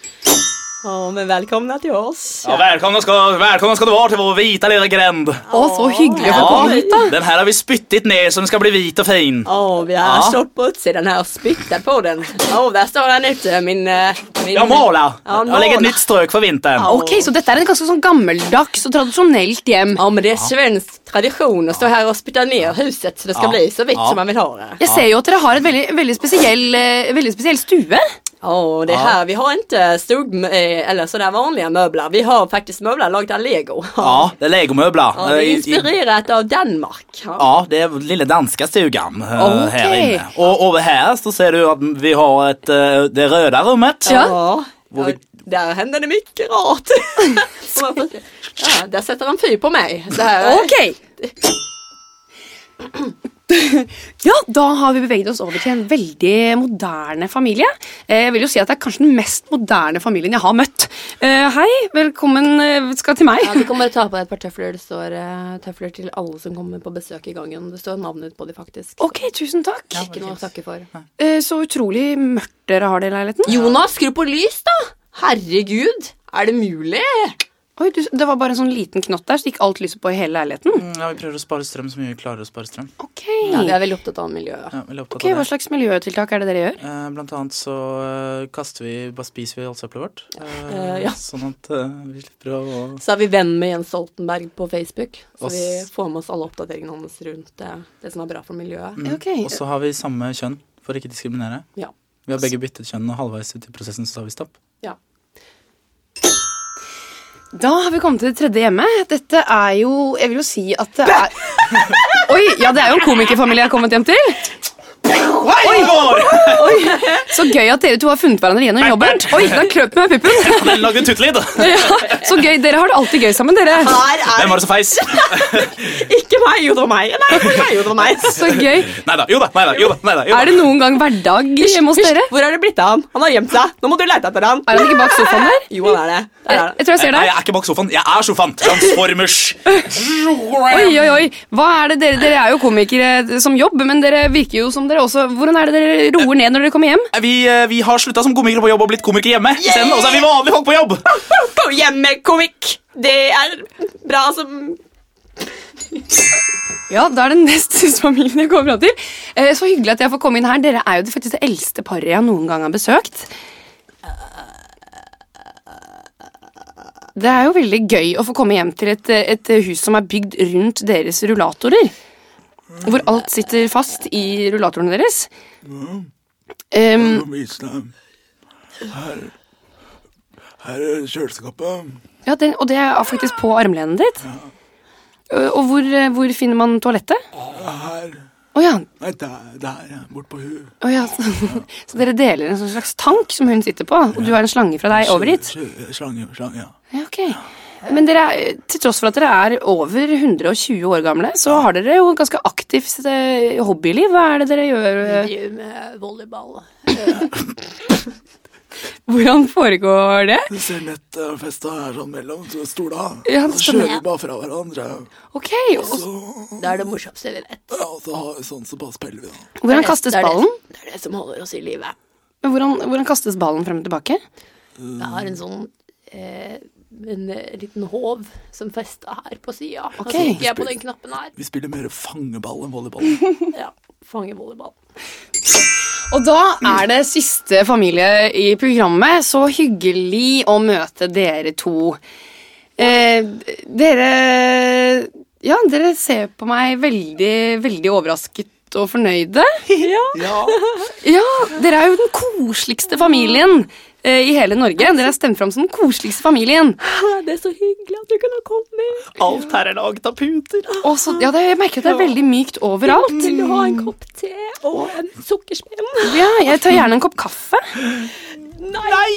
S2: men velkommen til oss.
S6: Ja, velkommen, skal, velkommen skal du være til vår hvite lille grend.
S5: Å, så hyggelig å få komme hit, da.
S6: Den her har vi spyttet ned, så den skal bli hvit og fin.
S2: Å, vi har
S6: Ja.
S2: stått på utsiden her og spyttet på den. Å, der står den ute, min, eh, min
S6: Ja, måla.
S2: Ja,
S6: Og legge et
S2: måla.
S6: nytt strøk for vinteren.
S5: Ok, Så dette er et ganske sånn gammeldags og tradisjonelt hjem.
S2: Ja, men det er svensk tradisjon å stå her og spytte ned huset, så det skal bli så vitt som man vil ha det.
S5: Jeg ser jo at dere har et veldig, veldig, spesiell, eh, veldig spesiell stue.
S2: Ja, det här, vi har inte stort, eh, eller sådär vanliga möbler. Vi har faktiskt möbler lagda av lego.
S6: Ja, det er legomøbler.
S2: Ja,
S6: Eh,
S2: det är
S6: i- i-
S2: inspirerat av Danmark. Ja.
S6: Ja, det er lille danske stugan eh,
S5: Ok.
S6: her inne. Og over her så ser du at vi har et, eh, det røde rommet.
S5: Ja.
S2: Ja,
S6: Hvor vi-
S2: där händer det mycket rart. Får man först- ja, där sätter han fyr på mig. Så här.
S5: Ok. Ja, da har vi beveget oss over til en veldig moderne familie. Eh, Jeg vil jo si at Det er kanskje den mest moderne familien jeg har møtt. Eh, Hei, velkommen eh, skal til meg.
S2: Ja, vi kommer att ta på ett par töfflor. Det står eh, töfflor till alla som kommer på besök i gången. Det står navnet på det faktiskt.
S5: Ok, tusen takk.
S2: Ikke noe å takke for.
S5: Eh, Så utrolig mørkt dere har det i leiligheten.
S2: Jonas, skru på lys da! Herregud, er det mulig?
S5: Oi, du, Det var bare en sånn liten knott der, så gikk alt lyset på i hele leiligheten.
S3: Ja, Vi prøver å spare strøm så mye vi klarer å spare strøm.
S5: Ok,
S2: Ja, vi er veldig opptatt av miljøet.
S3: Ja, veldig opptatt
S5: Ok,
S3: av
S5: Hva
S3: det.
S5: slags miljøtiltak er det dere gjør?
S3: Eh, Blant annet så eh, kaster vi, bare spiser vi alt søppelet vårt. eh,
S2: Eh, ja.
S3: Sånn at eh, vi slipper å
S2: Så er vi venn med Jens Stoltenberg på Facebook. Så
S3: Oss.
S2: vi får med oss alle oppdateringene hans rundt det, det som er bra for miljøet.
S5: Ok,
S3: Og så har vi samme kjønn, for å ikke diskriminere.
S2: Ja.
S3: Vi har begge byttet kjønn, og halvveis ut i prosessen så sa vi stopp.
S2: ja.
S5: Da har vi kommet til det tredje hjemmet. Dette er jo Jeg vil jo si at det er Oi, ja, det er jo en komikerfamilie jeg har kommet hjem til.
S3: Hei, Ivor!
S5: Så gøy at dere to har funnet hverandre gjennom jobben. Oi, da kløp jeg meg i puppen.
S3: Den lagde tuttelyd.
S5: Ja, så gøy. Dere har det alltid gøy sammen, dere.
S2: Her er
S3: Hvem var det som feis?
S2: ikke meg, jo det var meg. Nei, det var meg, jo det var meg.
S5: Så gøy.
S3: Nei da, jo da. Nei da, jo da, nei da, jo da.
S5: Er det noen gang hverdag hjemme hos dere?
S2: Hvor er det blitt av han? Han har gjemt seg. Nå må du lete etter han.
S5: Er han ikke bak sofaen der?
S2: Jo, han er det. Der er
S5: Jeg
S2: det.
S5: tror jeg ser
S3: Nei,
S5: deg.
S3: jeg er ikke bak sofaen. Jeg er sofaen. Transformers.
S5: Oi, oi, oi. Hva er det dere, dere er jo komikere som jobb, men dere virker jo som dere også Hvordan er det dere roer ned når dere kommer hjem?
S3: Vi, eh, vi har slutta som komikere på jobb og blitt komikere hjemme. Isteden, og så er vi vanlige folk på jobb.
S2: Kom hjemme, komikk. Det er bra som
S5: Ja, da er det nest familien jeg kommer fram til. Eh, Så hyggelig at jeg får komme inn her. Dere er jo det faktisk det eldste paret jeg noen gang har besøkt. Det er jo veldig gøy å få komme hjem til et, et hus som er bygd rundt deres rullatorer. Hvor alt sitter fast i rullatorene deres. Em,
S7: Her er kjøleskapet.
S5: ja, det, og det er faktisk på armlenet ditt. Eh, Og hvor, eh, hvor finner man toalettet?
S7: Her.
S5: Å ja,
S7: Nei, der, der ja. bort på huet.
S5: Å ja. Så, så dere deler en sånn slags tank som hun sitter på, og du har en slange fra deg over dit?
S7: Slange, slange, slange, ja.
S5: Ja, ok. Men dere, er- til tross for at dere er over 120 år gamle, så har dere jo et ganske aktivt eh, hobbyliv. Hva er det dere gjør? eh?
S2: Driver med volleyball.
S5: Hvordan foregår det?
S7: Du ser nett eh, festa her sånn mellom to stoler.
S5: Ja, det
S7: så
S5: stemmer.
S7: kjører vi bare fra hverandre.
S5: Ok, og
S2: Det er det morsomste vi vet.
S7: Ja, og så har vi sånn såpass peller vi, da.
S5: Hvordan kastes
S2: det er det-
S5: ballen?
S2: Det er det som holder oss i live.
S5: Hvordan, hvordan kastes ballen frem og tilbake?
S2: Jeg har en sånn eh, en eh, liten håv som festa her på sida.
S5: Ok.
S2: Okay. Trykker jeg på den knappen her.
S7: Vi spiller mer fangeball enn volleyball.
S2: Ja, Fanger volleyball.
S5: Og da er det siste familie i programmet. Så hyggelig å møte dere to. Eh, dere Ja, dere ser på meg veldig, veldig overrasket og fornøyde.
S7: Ja,
S5: Ja, dere er jo den koseligste familien eh, i hele Norge. Dere er stemt fram som den koseligste familien.
S2: Ah, Det er så hyggelig at du kunne komme.
S3: Alt her er laget av puter.
S5: Og så, ja, det, jeg merker at det er veldig mykt overalt.
S2: Vil du ha en kopp te og en sukkerspenn?
S5: Ja, jeg tar gjerne en kopp kaffe.
S2: Nei!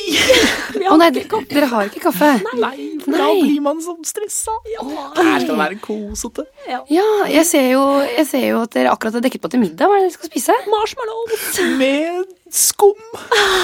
S2: Vi
S5: Å
S2: har
S5: nei,
S2: ikke
S5: dere dere har ikke kaffe.
S2: Nei.
S5: Nei.
S3: man sånn stressa.
S2: Ja.
S3: Her skal det være kosete.
S5: Ja, jeg ser, jo, jeg ser jo at dere akkurat har dekket på til middag. Hva er det dere skal spise?
S2: Marshmallows.
S3: Med skum.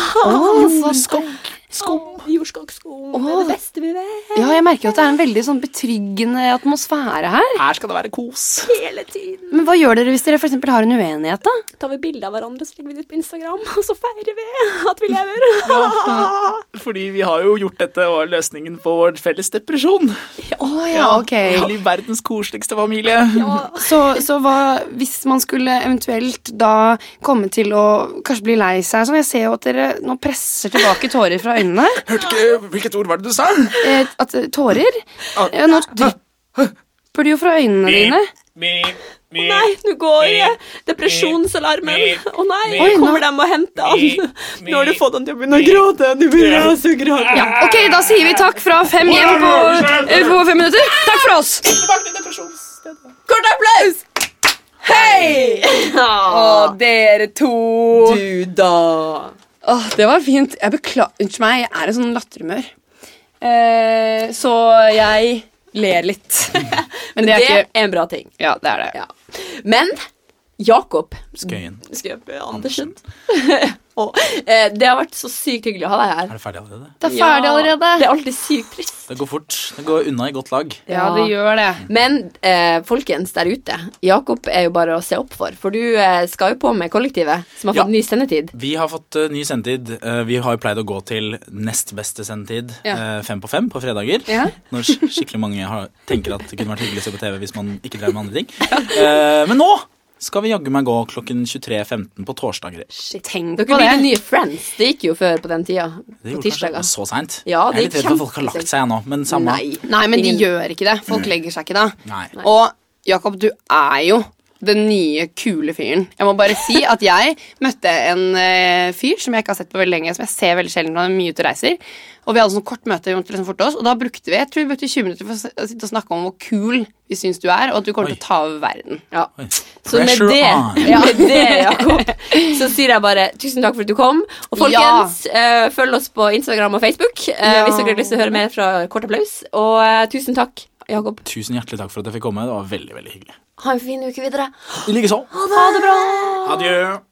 S5: Åh, så-
S2: Skum. Jordskogskum. Det er
S5: Åh.
S2: det beste vi vet.
S5: ja, jeg merker jo at det er en veldig sånn betryggende atmosfære her.
S3: Her skal det være kos.
S2: Hele tiden
S5: Men hva gjør dere hvis dere for eksempel har en uenighet, da?
S2: tar vi bilde av hverandre så legger vi det ut på Instagram, og så feirer vi at vi lever.
S3: Fordi vi har jo gjort dette og løsningen på vår felles depresjon.
S5: Å ja, ok.
S3: Til verdens koseligste familie.
S5: Så, så hva hvis man skulle eventuelt da komme til å kanskje bli lei seg sånn? Jeg ser jo at dere nå presser tilbake tårer fra øynene.
S3: Hørte ikke Hvilket ord var det du sa?
S5: Eh, at eh, tårer ja, Nå drypper det jo fra øynene dine.
S2: Nei, nå går eh, depresjonsalarmen. Å nei,
S5: Oi, nå-
S2: kommer de og henter han? Nå har du fått han til å begynne å gråte. Du begynner også å gråte.
S5: Ja, ok, da sier vi takk fra fem hjem på, eh, på fem minutter. Takk for oss!
S2: Kort applaus! Hei!
S5: Å, dere to.
S2: Ah. Du, da.
S5: Åh, det var fint. Jeg beklager. Unnskyld meg, jeg er i sånn latterhumør. Eh, så jeg ler litt. Men det er
S2: Det er
S5: ikke
S2: en bra ting.
S5: Ja, det er det.
S2: Ja. Men Jakob
S3: Skøyen.
S2: Skøp Andersen. Å, eh, det har vært så sykt hyggelig å ha deg her.
S3: Er det ferdig allerede?
S5: Det er ferdig
S2: Det
S5: allerede.
S2: er alltid sykt trist.
S3: Det går fort. Det går unna i godt lag.
S5: Ja, det gjør det.
S2: Men eh, folkens der ute, Jakob er jo bare å se opp for. For du eh, skal jo på med kollektivet, som har
S3: Ja.
S2: fått ny sendetid.
S3: Vi har fått eh, ny sendetid. Eh, vi har jo pleid å gå til nest beste sendetid,
S5: Ja.
S3: eh, fem på fem på fredager.
S5: Ja.
S3: Når sk- skikkelig mange har, tenker at det kunne vært hyggelig å se på TV hvis man ikke drev med andre ting. Eh, men nå skal vi jaggu meg gå klokken 23.15 på torsdager.
S5: Tenk
S2: Dere
S5: på
S2: blir de
S5: det.
S2: nye Friends. Det gikk jo før på den tida.
S3: Det
S2: På
S3: gjorde kanskje det
S2: tirsdager.
S3: var så seint.
S2: Ja,
S3: jeg er
S2: det
S3: litt
S2: gikk
S3: redd for at folk har
S2: kjempesent.
S3: lagt seg nå, men samme.
S5: Nei, men de
S2: Ingen-
S5: gjør ikke det. Folk legger seg ikke da.
S3: Nei.
S5: Og Jakob, du er jo den nye kule fyren. Jeg må bare si at jeg møtte en eh, fyr som jeg ikke har sett på veldig lenge, som jeg ser veldig sjelden når han er mye ute og reiser. Og vi hadde sånn kort møte, vi måtte liksom forte oss, og da brukte vi jeg tror vi brukte 20 minutter for å s- å sitte og snakke om hvor kul vi syns du er, og at du kommer til å ta over verden.
S2: Ja.
S3: Oi.
S2: Så med
S3: Pressure
S2: det,
S3: on.
S2: med det Jakob, så sier jeg bare tusen takk for at du kom. Og folkens, eh, følg oss på Instagram og Facebook
S1: Ja.
S2: eh, hvis dere har lyst til å høre mer fra Kort applaus. Og eh, tusen takk, Jakob.
S3: Tusen hjertelig takk for at jeg fikk komme. Det var veldig, veldig hyggelig.
S2: Ha en fin uke videre.
S3: I likeså.
S2: Ha det bra.
S3: Adjø.